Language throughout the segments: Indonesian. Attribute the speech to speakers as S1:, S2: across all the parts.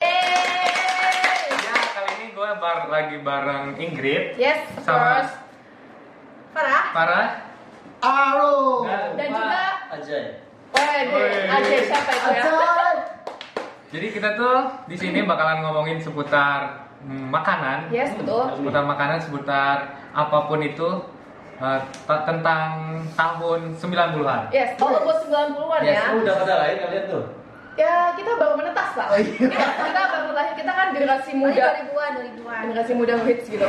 S1: Ya, bar lagi bareng Ingrid
S2: Yes, of
S1: Sama.
S2: course. Farah.
S1: Farah
S3: Aro.
S1: Dan-
S2: Dan juga-
S3: Ajay.
S1: Woi.
S2: Wede, Ajay siapa itu ya?
S3: Ajay.
S1: jadi kita tuh di sini bakalan ngomongin seputar hmm, makanan
S2: Yes, betul.
S1: seputar makanan seputar apapun itu eh, t- tentang tahun 90-an
S2: Yes, oh buat 90-an
S1: Yes.
S2: ya.
S3: Oh, udah pada lain kalian tuh.
S2: Ya, kita baru menetas lah.
S3: Oh, iya.
S2: kita baru lahir, kita kan generasi muda.
S4: 2000-an, 2000-an.
S2: Generasi muda hits gitu.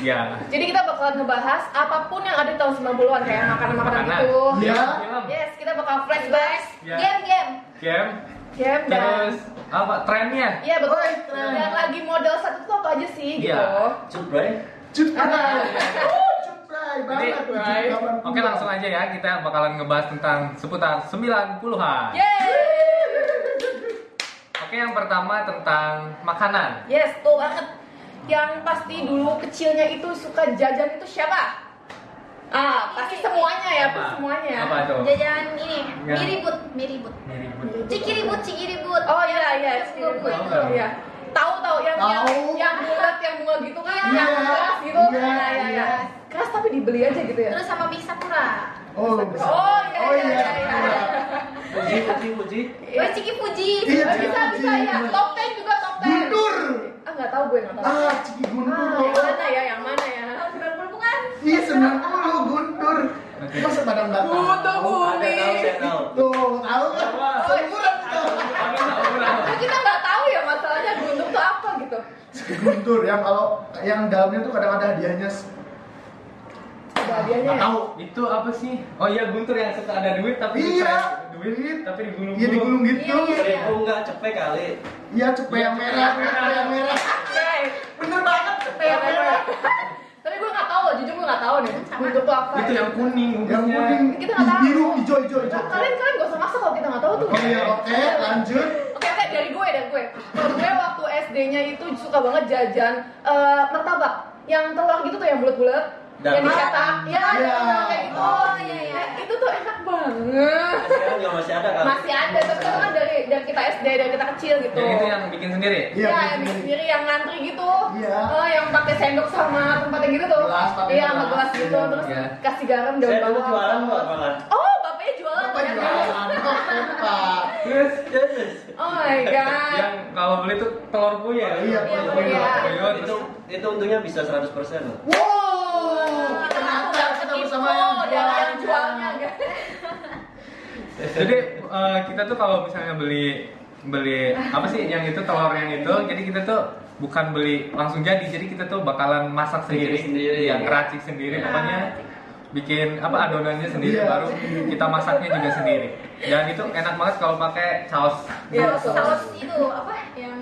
S1: ya
S2: Jadi kita bakalan ngebahas apapun yang ada di tahun 90-an kayak makanan-makanan
S1: Makanan.
S2: gitu.
S3: Iya.
S1: Film.
S2: Yes, kita bakal flashback,
S1: Ya.
S4: Game-game.
S1: game
S2: game dan
S1: terus apa trennya
S2: Iya betul.
S3: Oi, keren.
S2: Dan lagi model satu tuh apa aja sih gitu.
S1: Iya.
S3: Cuprai.
S2: Ah.
S3: Cuprai. Oh, Cuprai
S1: Jadi,
S3: banget.
S2: Cuprai.
S3: 70-80.
S1: Oke langsung aja ya kita bakalan ngebahas tentang seputar 90-an.
S2: Ya. Yeay.
S1: Oke yang pertama tentang makanan.
S2: Yes, tuh banget. Yang pasti dulu kecilnya itu suka jajan itu siapa? Ah,
S3: Iya.
S2: pasti semuanya ya, pasti
S1: Apa?
S2: semuanya.
S1: Apa tuh?
S4: Jajanan ini,
S1: Ya.
S4: miribut, miribut.
S1: Ini ribut.
S4: Cikiribut, cikiribut.
S2: Oh iya iya,
S4: Gua- gua
S1: Tahu
S4: itu.
S1: nggak?
S2: Iya. Tahu tahu yang yang
S3: Tahu.
S2: yang bulat yang bunga gitu kan,
S3: Iya,
S2: yang keras gitu.
S3: iya,
S2: iya
S3: iya.
S2: iya. Keras tapi dibeli aja gitu ya.
S4: Terus sama Big Sakura.
S3: Oh,
S2: Oh iya
S3: Oh,
S2: iya
S3: iya.
S2: iya. iya.
S3: Uji, uji, uji.
S2: Iya.
S4: Wes Ciki Fuji.
S3: Iya,
S2: Bisa
S3: Ciki
S2: bisa, bisa
S3: Fuji.
S2: ya. Top 10 juga top 10.
S3: Guntur.
S2: Ah nggak tahu gue nggak tahu.
S3: Ah, Ciki
S2: Ah,
S3: Guntur.
S2: yang mana ya? Yang mana ya?
S4: Tahun 90 bukan?
S3: Ih, 90 Guntur. Masa padang batang.
S2: Guntur,
S3: Ada tahu, saya tahu. Tuh, tahu nggak? Seumuran kita.
S2: Tapi kita nggak tahu ya masalahnya gunung tuh apa gitu.
S3: Ciki Guntur yang kalau yang dalamnya tuh kadang ada hadiahnya.
S2: Ada hadiahnya.
S3: Nggak
S2: ya?
S3: tahu.
S1: Itu apa sih? Oh iya Guntur yang suka ada duit tapi
S3: Iya.
S1: dipres- duit tapi digulung.
S3: Iya digulung gitu.
S4: Iya, iya.
S5: Seribu enggak cepet kali.
S3: Iya, cepet yang merah, cepet yang merah.
S2: Oke.
S3: Bener banget, cepet yang merah.
S2: Tapi gue gak tau loh, jujur gue gak tau nih
S4: Sama.
S2: Guntur tuh apa
S1: Itu yang kuning.
S3: Yang
S1: bungkusnya.
S3: kuning,
S2: Kita nggak tahu.
S3: biru, hijau, hijau,
S2: Nah,
S3: hijau.
S2: Kalian, kalian gak usah maksa kalau kita gak tau tuh
S3: Oh iya, oke, lanjut.
S2: Oke, oke, dari gue, dari gue Kalau gue waktu SD-nya itu suka banget jajan eh, martabak Yang telur gitu tuh, yang bulat-bulat
S5: Dan-
S2: Yang dicetak Iya, ada
S3: Iya.
S2: telur kayak gitu
S4: Oh, iya, iya.
S2: Nah, Itu tuh enak banget
S5: Sekarang juga masih ada kali.
S2: Masih ada, tapi itu kan dari, dari kita SD, dari kita kecil gitu
S1: Yang itu yang bikin sendiri.
S2: Iya,
S3: Iya,
S2: yang
S3: bikin
S2: sendiri yang ngantri gitu.
S3: Iya.
S2: Eh, yang pakai sendok sama tempatnya gitu tuh.
S3: Gelas, pakai
S2: iya, sama gelas
S3: gelas,
S2: gitu
S3: iya.
S2: terus
S1: Iya.
S2: kasih garam daun
S5: Saya dulu
S2: bawang.
S5: jualan kok malah.
S2: Oh, bapaknya jualan.
S3: Apa
S2: ternyata.
S3: jualan? Oke, Pak.
S1: Terus
S2: Oh my god.
S1: yang kalau beli tuh telur puyuh.
S3: Iya,
S2: Iya,
S1: telur
S2: puyuh.
S1: puyuh,
S5: Itu
S1: terus-
S5: itu untungnya bisa 100% loh.
S3: Wow, ternyata kita bersama yang
S2: Oh, dan
S3: jualan.
S2: yang jualnya guys.
S1: Jadi eh, kita tuh kalau misalnya beli beli apa sih yang itu telur yang itu, jadi kita tuh bukan beli langsung jadi, jadi kita tuh bakalan masak sendiri,
S5: Bikin sendiri.
S1: yang keracik sendiri,
S5: Iya.
S1: pokoknya bikin apa adonannya sendiri
S3: Iya.
S1: baru kita masaknya juga sendiri. Dan itu enak banget kalau pakai saus.
S2: Iya,
S4: Saus-
S2: betul.
S4: Saus itu apa? Yang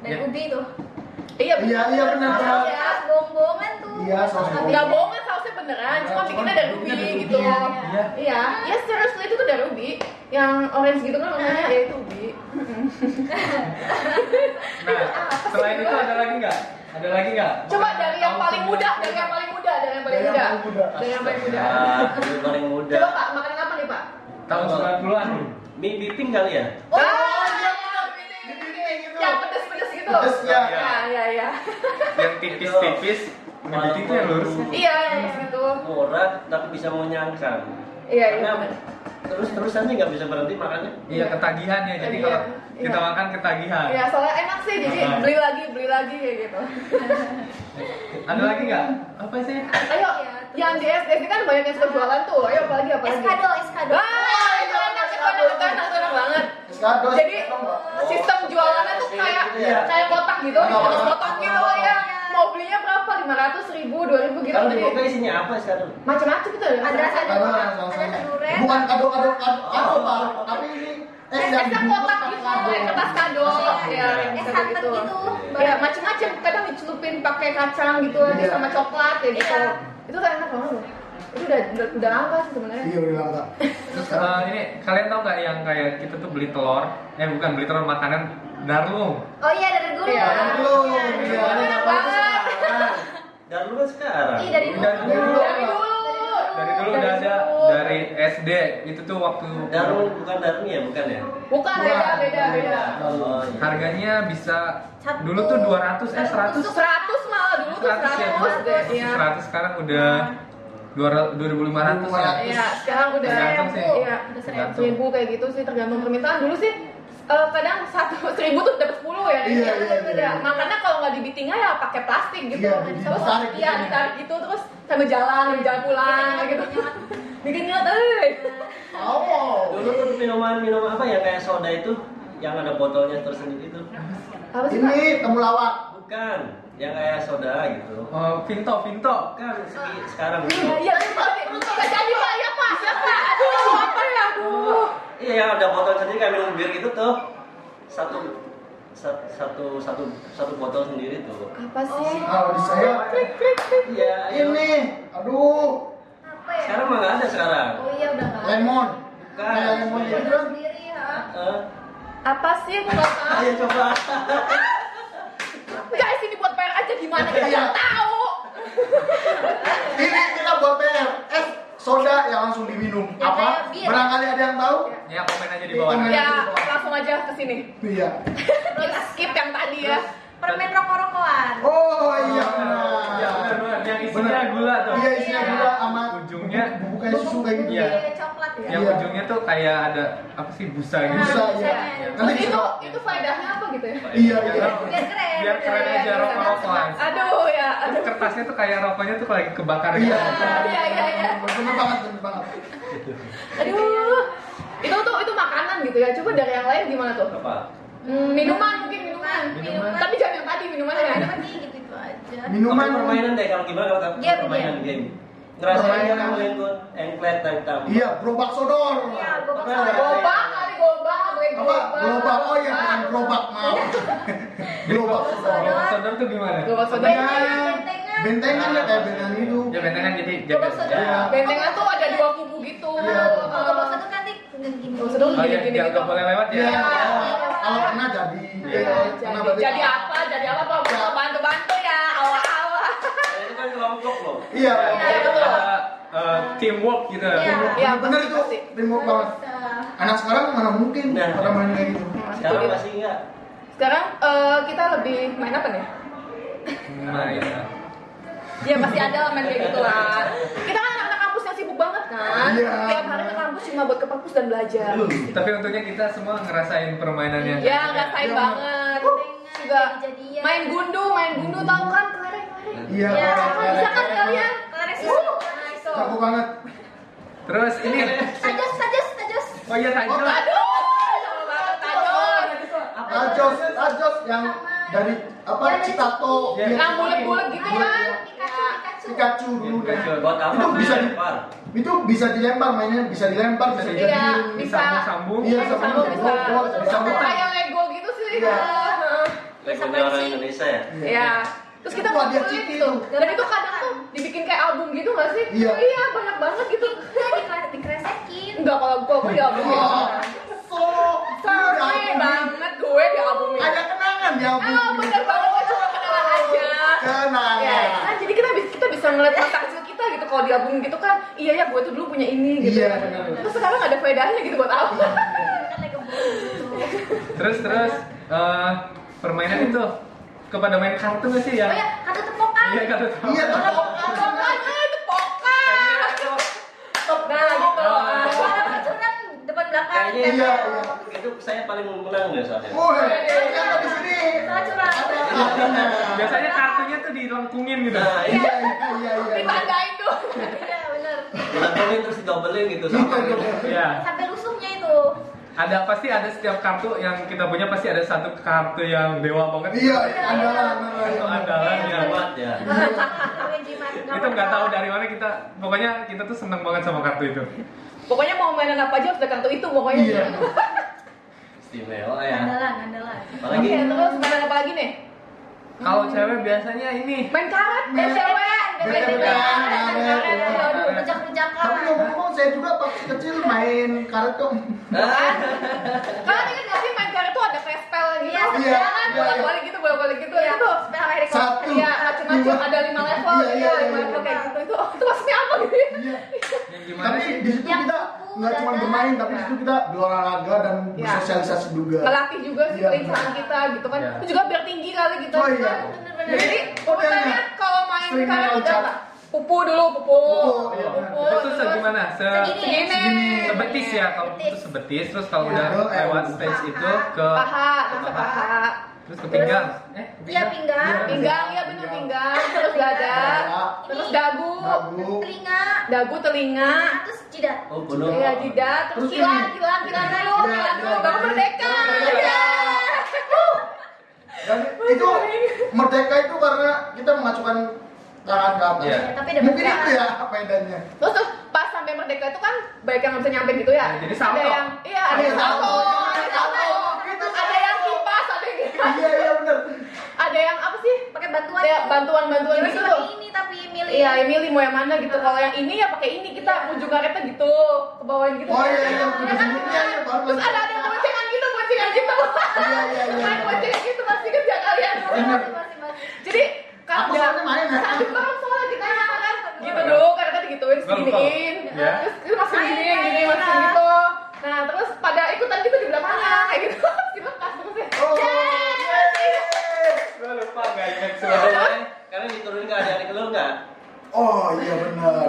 S4: dari
S1: Ya.
S4: ubi tuh.
S2: Iya,
S3: Iya, iya, benar,
S2: Sausnya-
S3: Kak.
S4: Ya, bohongan tuh.
S3: Iya, saus
S4: Tapi-
S2: Nggak bohongan sausnya beneran, cuma
S3: Cuman
S2: bikinnya dari ubi
S3: bikinnya dari
S2: gitu.
S3: ubi,
S2: Iya,
S3: iya.
S2: iya, serius itu tuh dari ubi. Yang orange gitu kan namanya
S3: Iya.
S2: ya itu ubi.
S1: Nah, selain itu ada lagi nggak? Ada lagi nggak?
S2: Coba dari yang paling muda, dari yang paling muda, dari yang paling
S3: Dari
S2: muda.
S3: yang paling muda.
S2: Dari yang paling muda.
S5: Ah, dulu paling muda.
S2: Coba Pak, makanan apa nih Pak?
S1: Tahun 90-an.
S5: Mie biting kali ya?
S2: Oh,
S3: iya,
S2: gitu. Yang pedes-pedes gitu.
S3: Pedes, ya.
S2: Iya, iya, iya.
S1: Yang tipis-tipis, ngebikin tuh yang lurus.
S2: Iya, yang gitu.
S5: Murah tapi bisa mengenyangkan.
S2: Iya, iya.
S5: Karena terus-terusannya nggak bisa berhenti makannya.
S1: Iya, ketagihan ya. Jadi kalau
S2: Iya.
S1: kita makan ketagihan.
S2: Iya, soalnya enak sih, jadi
S1: Makan.
S2: beli lagi, beli lagi kayak gitu.
S1: Ada lagi nggak? Apa sih?
S2: Ayo,
S4: Iya, terus.
S2: yang di SD kan banyak yang suka jualan tuh. Ayo, apalagi apa lagi?
S4: Eskado, eskado.
S2: Wah, Iya. Ah, itu enak, itu enak, itu enak, itu enak banget.
S3: Eskado,
S2: Jadi
S3: eskado.
S2: sistem jualannya tuh
S5: Sistem
S2: kayak
S5: gitu ya.
S2: kayak kotak gitu,
S3: Iya.
S2: kotak-kotak gitu ya. Mau belinya berapa? 500 ribu, 2000 gitu.
S5: Kalau di
S2: Jadi
S5: Bogor isinya apa sekarang?
S2: macam-macam itu ada.
S4: Ada satu,
S3: Sama, sama,
S4: ada
S3: sama.
S4: satu red.
S3: Bukan kado-kado kado, kado, Pak. Tapi ini
S2: Es
S3: es yang
S2: esnya
S3: dibungkus
S2: kotak
S3: pakai
S2: gitu,
S3: kado.
S2: kayak kertas kado. Ya,
S4: Iya, Es
S2: kayak
S4: santan
S2: gitu.
S4: gitu.
S2: Ya, macam-macam. Kadang dicelupin pakai kacang gitu aja
S3: Iya.
S2: sama coklat ya gitu.
S4: Iya.
S2: Itu tuh enak banget loh. Itu udah udah, udah apa sih sebenarnya?
S3: Iya, udah lama.
S1: Terus eh, ini kalian tau nggak yang kayak kita tuh beli telur? Eh bukan beli telur makanan darlung.
S4: Oh iya, dari dulu.
S2: Iya,
S4: Iya,
S2: dari
S3: dulu. Iya.
S5: Iya.
S2: Itu enak banget.
S5: Dan lu Ah, kan sekarang.
S4: Iya, dari dulu.
S1: Dari
S3: dulu.
S2: Ah, Dari dulu.
S1: dari dulu udah ada dari SD itu tuh waktu
S5: Darun bukan Darun ya, bukan ya?
S2: Bukan beda beda beda.
S5: Oh, iya.
S1: harganya bisa
S4: Satu.
S1: dulu tuh 200 eh 100
S2: 100 malah dulu tuh
S1: 100 ya
S2: 100
S1: Bu?
S2: ya.
S1: 100 sekarang udah 200 2500 ya
S2: Iya, sekarang udah
S1: Tergantung
S3: ya?
S1: sih.
S2: Iya, udah seribu.
S1: Tergantung.
S2: seribu kayak gitu sih tergantung permintaan. Dulu sih eh, kadang satu seribu tuh dapat sepuluh ya.
S3: Iya, iya,
S2: betul,
S3: iya,
S2: beda.
S3: iya.
S2: Makanya kalau nggak dibitingnya ya pakai plastik gitu.
S3: Iya,
S2: terus
S3: ditarik
S2: iya
S3: gitu.
S2: ditarik gitu terus sambil jalan, sambil jalan pulang kayak gitu. Bikin nyet, eh.
S3: Oh.
S5: Dulu tuh minuman minuman apa ya kayak soda itu yang ada botolnya tersendiri itu?
S2: Apa sih Pak?
S3: Ini temulawak.
S5: Bukan, yang kayak soda gitu.
S1: oh Vinto Vinto
S5: Bukan segi- sekarang.
S2: Iya, iya, tapi belum nggak jadi pak, ya pak, ya pak. Aduh, apa ya, aduh.
S5: Iya yang ada botol sendiri kayak minum bir gitu tuh satu sat- satu satu satu botol sendiri tuh.
S2: Apa sih?
S3: Kalau di saya
S2: Klik, klik, klik.
S5: Iya. ayo.
S3: ini, aduh,
S4: Apa ya?
S5: Sekarang mah nggak ada sekarang.
S4: Oh iya udah nggak.
S3: lemon.
S5: Bukan.
S3: Kayak lemon
S5: Iya.
S3: gitu.
S4: Sendiri ha.
S5: Eh,
S2: Apa sih? Aku nggak tahu.
S5: ayo coba.
S2: Guys, ini buat PR aja gimana kita
S3: Iya.
S2: nggak tahu.
S3: Ini kita buat PR. Es soda yang langsung diminum.
S4: Ya,
S3: Apa?
S4: kayak bir.
S3: Barangkali ada yang tahu?
S1: ya komen aja di bawah
S3: Komen.
S2: Ya, langsung aja ke sini.
S3: Iya.
S2: Kita skip yang tadi ya.
S4: Permen rokok-rokokan.
S3: Oh iya
S1: Iya, benar, benar.
S3: benar.
S1: yang isinya
S3: Benar.
S1: gula tuh
S3: Iya isinya gula sama
S1: Ujungnya.
S3: bukan susu kayak gitu.
S1: Iya.
S4: Iya, coklat ya.
S1: yang
S3: Iya.
S1: ujungnya tuh kayak ada apa sih busa gitu
S3: Busa, iya.
S4: Iya.
S3: Nanti
S2: Terus itu
S3: kita
S2: itu faedahnya apa gitu ya?
S3: Iya,
S1: Biar
S3: iya.
S1: keren.
S4: Biar keren.
S1: biar keren aja rokok-rokokan
S2: Aduh ya,
S1: Terus
S2: aduh.
S1: kertasnya tuh kayak rokoknya tuh lagi kebakar gitu
S3: Iya.
S2: Iya, iya, iya.
S3: Benar banget, benar banget.
S2: Aduh. Itu tuh itu makanan gitu ya. Coba dari yang lain gimana tuh?
S5: Apa?
S2: Hmm, minuman mungkin minuman.
S1: Minuman.
S2: Tapi jangan yang tadi minuman
S4: Ada
S2: ya.
S4: apa sih gitu-gitu aja.
S3: Minuman
S5: Kalau permainan deh kalau gimana kalau kamu
S4: Game,
S5: permainan game. Ngerasain
S3: Permainan.
S5: kan kamu lingkut engklet dan tamu.
S3: Iya, gerobak sodor.
S4: Iya, gobak
S5: Apa?
S4: sore.
S2: Gobak kali gobak, gue
S3: Apa?
S2: gobak.
S3: Gerobak. Oh iya, bukan gerobak, maaf. Gerobak sodor.
S1: Kalau sodor tuh gimana?
S2: Gobak
S3: Apa ya?
S2: saudara.
S4: Bentengan.
S3: Bentengan ya kayak bentengan itu.
S1: Ya bentengan jadi
S2: Gobak
S1: ya.
S2: saudara. Bentengan tuh ada dua kubu gitu.
S3: Iya.
S4: Kalau gobak satu kan nih gini.
S2: Gobak sodor
S1: Oh iya,
S2: gini-gini
S1: yang
S2: gitu.
S1: nggak boleh lewat ya.
S3: Iya. Kalau kena jadi.
S1: Iya,
S2: Ya,
S3: Eh, kena
S2: jadi,
S3: berarti
S2: jadi
S3: kalah.
S2: apa? Jadi apa? Pak?
S3: Iya.
S2: Bukan bantu-bantu ya, awal-awal.
S5: Nah, itu kan kelompok loh.
S3: Iya.
S1: Jadi itu
S2: betul.
S1: ada eh, teamwork gitu.
S4: Iya.
S2: Iya,
S3: Bener itu.
S2: pasti.
S3: Teamwork banget.
S4: Bisa.
S3: Anak sekarang mana mungkin
S5: Nah.
S3: pada main kayak gitu.
S5: Sekarang masih enggak.
S2: Sekarang eh, kita lebih main apa nih?
S1: Nah, iya.
S2: Ya pasti ada lah main kayak gitu lah. Kita kan anak-anak kampus yang sibuk banget kan.
S3: Iya.
S2: Tiap hari ke kampus cuma buat ke kampus dan belajar.
S1: Tapi untungnya kita semua ngerasain permainan yang gitu.
S2: Ya ngerasain
S3: Iya.
S2: banget.
S4: Bentengan,
S2: Juga
S4: jadi-jadian.
S2: main gundu, main gundu tahu kan kemarin kemarin.
S3: Iya.
S4: Ya,
S3: kayak-
S4: sama
S3: kayak-
S4: bisa kan
S3: kayak-
S4: kalian? Kalian susu.
S3: Jago banget.
S1: Terus ini
S4: Tajos, tajos, tajos.
S1: Oh iya tajos.
S2: Aduh, sama banget tajos.
S3: Iya. Ajos, ajos yang dari apa
S4: Yang dari
S3: Citato.
S1: Iya.
S3: Iya.
S2: Yang bulat-bulat gitu kan.
S4: Pikachu, Pikachu.
S3: Pikachu dulu deh.
S1: Pikachu.
S5: Buat apa?
S3: Itu bisa di-
S5: dilempar.
S3: Itu bisa dilempar mainnya, bisa dilempar, bisa
S1: Iya,
S2: Iya,
S3: dijadiin.
S2: bisa.
S1: Sambung-sambung.
S3: Iya,
S2: Bisa,
S3: sama
S2: bisa.
S3: robot, bisa muter.
S2: Kayak Lego gitu sih.
S3: Iya.
S2: Heeh.
S5: Legonya orang Indonesia ya.
S2: Ya. Terus kita
S3: Wah, dia
S2: kumpulin
S3: city
S2: gitu.
S3: tuh.
S2: Dan itu kadang tuh dibikin kayak album gitu gak sih?
S3: Iya.
S2: banyak banget gitu.
S4: Dikre- Dikresekin.
S2: Enggak kalau gue gue di album. ya.
S3: Wah, so, udah
S2: Sampai banget gue di album ini.
S3: ada kenangan ya Bu.
S2: Oh, bener banget gue cuma kenalan aja.
S3: Kenangan.
S2: Ya, kan jadi kita bisa kita bisa ngeliat masa kecil kita gitu kalau di album gitu kan iya ya gue tuh dulu punya ini gitu
S3: Iya, bener. Iya.
S2: terus sekarang ada faedahnya gitu buat aku
S4: Kan Lego Blue.
S1: Terus terus eh, permainan itu kepada main kartu nggak sih ya?
S4: Oh ya, kartu tepokan.
S1: Iya kartu.
S3: Iya, tepok,
S2: Pokoknya itu pokal nah gitu
S4: Ada
S2: ah.
S4: warna racunan depan belakang.
S5: Kayaknya
S3: Iya,
S5: iya.
S3: iya. Oh.
S5: Itu saya paling menang deh soalnya.
S3: Woi, ternyata iya. di sini.
S4: Racunan.
S3: Ada artinya.
S1: Biasanya kartunya tuh dilengkungin gitu.
S5: Nah, ini
S3: Iya, iya, iya, iya.
S2: ditandain tuh
S4: Iya, benar.
S5: dilengkungin terus didobelin gitu
S3: Iya,
S5: sama.
S3: iya, iya.
S1: Iya.
S4: Sampai lusuhnya itu.
S1: Ada pasti ada setiap kartu yang kita punya pasti ada satu kartu yang dewa banget.
S3: Iya, andalan,
S1: Itu
S3: andalan.
S4: Iya,
S1: andalan ya.
S5: Hebat ya.
S4: Namanya jimat.
S1: Kita nggak tahu dari mana kita. Pokoknya kita tuh seneng banget sama kartu itu.
S2: Pokoknya mau mainan apa aja harus ada kartu itu pokoknya.
S3: Iya.
S5: Istimewa ya.
S4: Andalan, andalan.
S2: Oke,
S5: Apalagi
S2: terus mainan apa lagi nih?
S1: Kalau cewek biasanya ini
S2: Main karet, main
S3: Main-
S2: cewek, main
S3: main
S2: karet,
S3: karet,
S2: main karet.
S3: iya.
S2: Aduh,
S4: Rujak-rujakan.
S3: Tapi ngomong-ngomong, saya juga pas kecil main karet tuh.
S5: Ah,
S2: Kalian ingat nggak kan sih main karet tuh ada kayak spell gitu?
S4: Iya,
S3: iya,
S2: kan?
S3: iya,
S2: Bolak-balik gitu, bolak-balik gitu.
S4: Iya.
S2: Itu
S4: Sampai hari
S3: Satu.
S2: Iya, macam-macam
S3: Dua.
S2: ada lima level,
S3: Iya,
S2: iya,
S3: iya,
S2: lima
S3: iya.
S2: level kayak gitu. Itu, itu maksudnya apa gitu?
S3: Iya.
S1: Yang gimana
S3: Tapi
S1: sih?
S3: di situ
S4: Yang
S3: kita
S4: kupu, Iya.
S3: nggak cuma
S4: dandan.
S3: bermain, tapi di situ kita berolahraga dan
S2: Ya.
S3: bersosialisasi juga.
S2: Melatih juga sih
S3: Iya,
S2: keinginan kita gitu kan.
S1: Iya.
S2: Itu juga biar tinggi kali gitu.
S3: Oh, iya.
S4: Bener-bener.
S2: Jadi sebenarnya kalau main
S3: Sering
S2: sekarang udah
S3: loncat.
S2: apa? Pupu dulu, pupu.
S3: Pupu, iya.
S2: Pupu,
S1: Oh, Itu
S2: terus-
S1: segimana? Se
S4: Segini. ya?
S2: Segini.
S1: sebetis ya kalau itu
S4: Betis.
S1: sebetis terus kalau
S2: Ya.
S1: udah
S3: Terus, eh,
S1: lewat stage itu ke
S2: Paha, terus ke paha.
S1: terus ke pinggang. Eh, ke
S4: Iya pinggang.
S2: Pinggang, ya bener pinggang. Terus dada.
S3: Dada.
S2: Terus
S4: Ini.
S2: dagu.
S3: Dagu.
S4: Telinga.
S2: Dagu telinga.
S4: Nah, terus jidat.
S5: Oh, bodoh.
S2: Iya, jidat. Terus
S3: Terus
S2: kilan,
S3: ini.
S2: kilan, kilan dulu.
S3: Iya,
S2: Kilan
S3: iya,
S2: dulu. Baru
S3: iya.
S2: merdeka. Iya.
S3: Merdeka. Dan itu merdeka itu karena kita mengacukan tangan ke atas.
S1: Iya.
S4: Tapi ada
S3: Mungkin
S4: beberapa.
S3: itu ya medannya.
S2: Terus tuh pas sampai merdeka itu kan baik yang nggak bisa nyampe gitu ya.
S1: Nah, jadi salto.
S2: Ada yang iya ada yang salto, ada
S3: Iya,
S2: yang salto,
S3: Itu
S2: ada yang kipas, ada yang
S3: Iya iya benar.
S2: ada yang apa sih?
S4: Pakai bantuan. Iya,
S2: Kayak bantuan-bantuan
S4: Ini
S2: Ya, gitu
S4: sama
S2: tuh.
S4: ini tapi milih.
S2: Iya, ya milih mau yang mana gitu. Kalau yang ini ya pakai ini
S4: Iya.
S2: kita ujung karetnya gitu, ke bawahin gitu.
S3: Oh iya
S2: Ya,
S3: iya
S2: ya
S3: benar.
S2: kan?
S3: Iya iya baru
S2: Terus ada ada yang boncengan gitu, boncengan gitu.
S3: Iya iya iya.
S2: Main boncengan gitu pasti kerja kalian.
S3: Bener.
S4: Masih-masih.
S2: Jadi
S3: Aku soalnya main ya.
S2: Satu orang soalnya kita kan gitu dulu karena kan digituin
S1: Betul,
S2: seginiin
S1: betul. Ya.
S2: terus itu masih
S4: Main,
S2: gini
S4: main,
S2: gini masih
S4: main.
S2: gitu nah terus pada ikutan gitu di belakangnya kayak gitu gimana kasusnya
S3: Oh.
S1: Gue lupa
S5: Iya,
S1: gayanya
S5: Soalnya, Karena diturunin ke adik-adik lu enggak?
S3: Oh iya benar.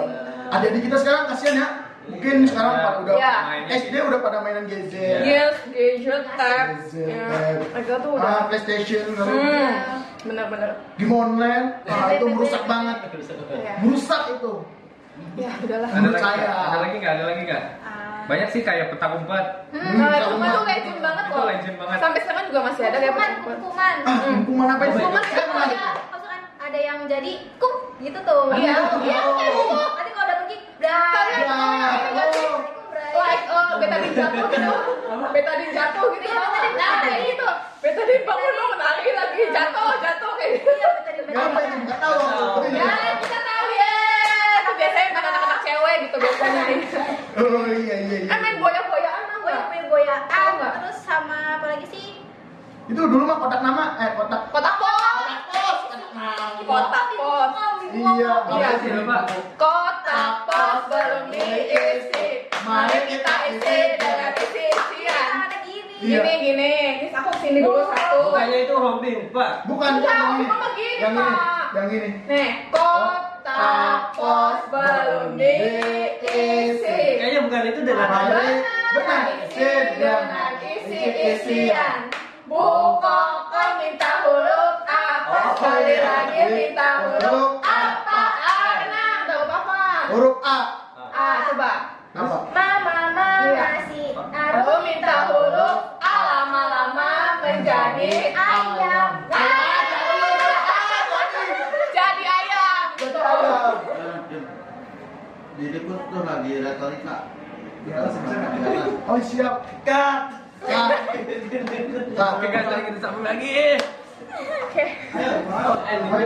S3: Ada di kita sekarang kasihan ya. Mungkin
S1: Iya.
S3: sekarang pada udah
S2: Iya.
S3: SD udah pada mainan gadget.
S4: Iya,
S2: yes gadget tab
S3: Gadget,
S2: ya
S3: tab.
S2: agak tuh udah
S3: Ah, PlayStation, lalu
S2: hmm benar-benar
S3: game online, ah, itu merusak banget,
S2: ya
S3: merusak itu.
S2: ya udahlah
S1: Ada lagi
S3: Percaya.
S1: nggak? Ada lagi nggak? Ada lagi nggak?
S4: Ah.
S1: Banyak sih kayak peta umpet.
S2: hmm, nah, itu
S3: sama.
S2: mah tuh legend banget
S1: Itu
S2: loh
S1: legend banget.
S2: sampai sekarang juga masih ada kayak
S4: Kuman,
S2: perempuan.
S4: kuman.
S3: Ah, hukuman apa itu?
S2: Hukuman
S3: Saya
S2: apa
S3: pernah.
S2: ya?
S4: Pasukan Hmm. ada yang jadi kup gitu tuh.
S2: Iya, iya, kayak gitu.
S4: Nanti kalau udah pergi, bray.
S2: Kalian
S3: Bray.
S2: ini
S4: Iya,
S2: nggak sih? like uh, betadin jatuh gitu betadin jatuh gitu
S4: Iya, betadin,
S2: nah kayak gitu betadin bangun bangun lagi lagi jatuh jatuh kayak gitu
S3: Nggak apa itu? Nggak tahu.
S5: Nggak tahu.
S3: Iya.
S2: ya kita tahu ya itu biasanya kan anak-anak cewek gitu biasanya
S3: Oh, iya iya iya.
S2: kan main boya-boyaan tau nggak Tahu
S4: Goyang-goyang,
S2: nggak?
S4: terus sama apa lagi sih?
S3: Itu dulu mah kotak nama, eh kotak.
S2: kotak pol kotak pos
S3: Iya.
S2: Iya,
S3: apa
S1: sih,
S3: sih?
S1: Pak.
S2: kotak pos belum diisi mari kita isi dengan isi isian
S4: Sama Kan ada gini.
S3: Iya.
S2: gini gini ini aku sini dulu satu
S5: Bukannya itu rombing, Pak.
S3: Bukan
S2: Iya,
S3: yang ini.
S2: mama gini,
S3: Yang ini,
S2: Pak.
S3: yang ini.
S2: Nih, kotak pos belum diisi.
S5: Kayaknya bukan itu deh. Lan.
S3: Ada.
S2: Benar, isi dengan isi isian. Bu Koko minta huruf apa sekali lagi minta huruf apa? Ah, tenang, tahu apa?
S3: Huruf A.
S2: Ah, coba.
S3: Apa?
S4: Mama,
S2: Iya.
S4: mama, si
S2: Aku
S4: Arum
S2: minta huruf A lama-lama menjadi
S4: ayam.
S2: Ah, jadi ayam. Betul.
S6: Jadi pun tuh lagi retorika.
S3: Ya, Oh siap.
S5: Cut.
S3: Kak. Kak. Ah.
S1: Oke guys, mari kita sambung lagi.
S2: Oke.
S5: Ayo, mau end.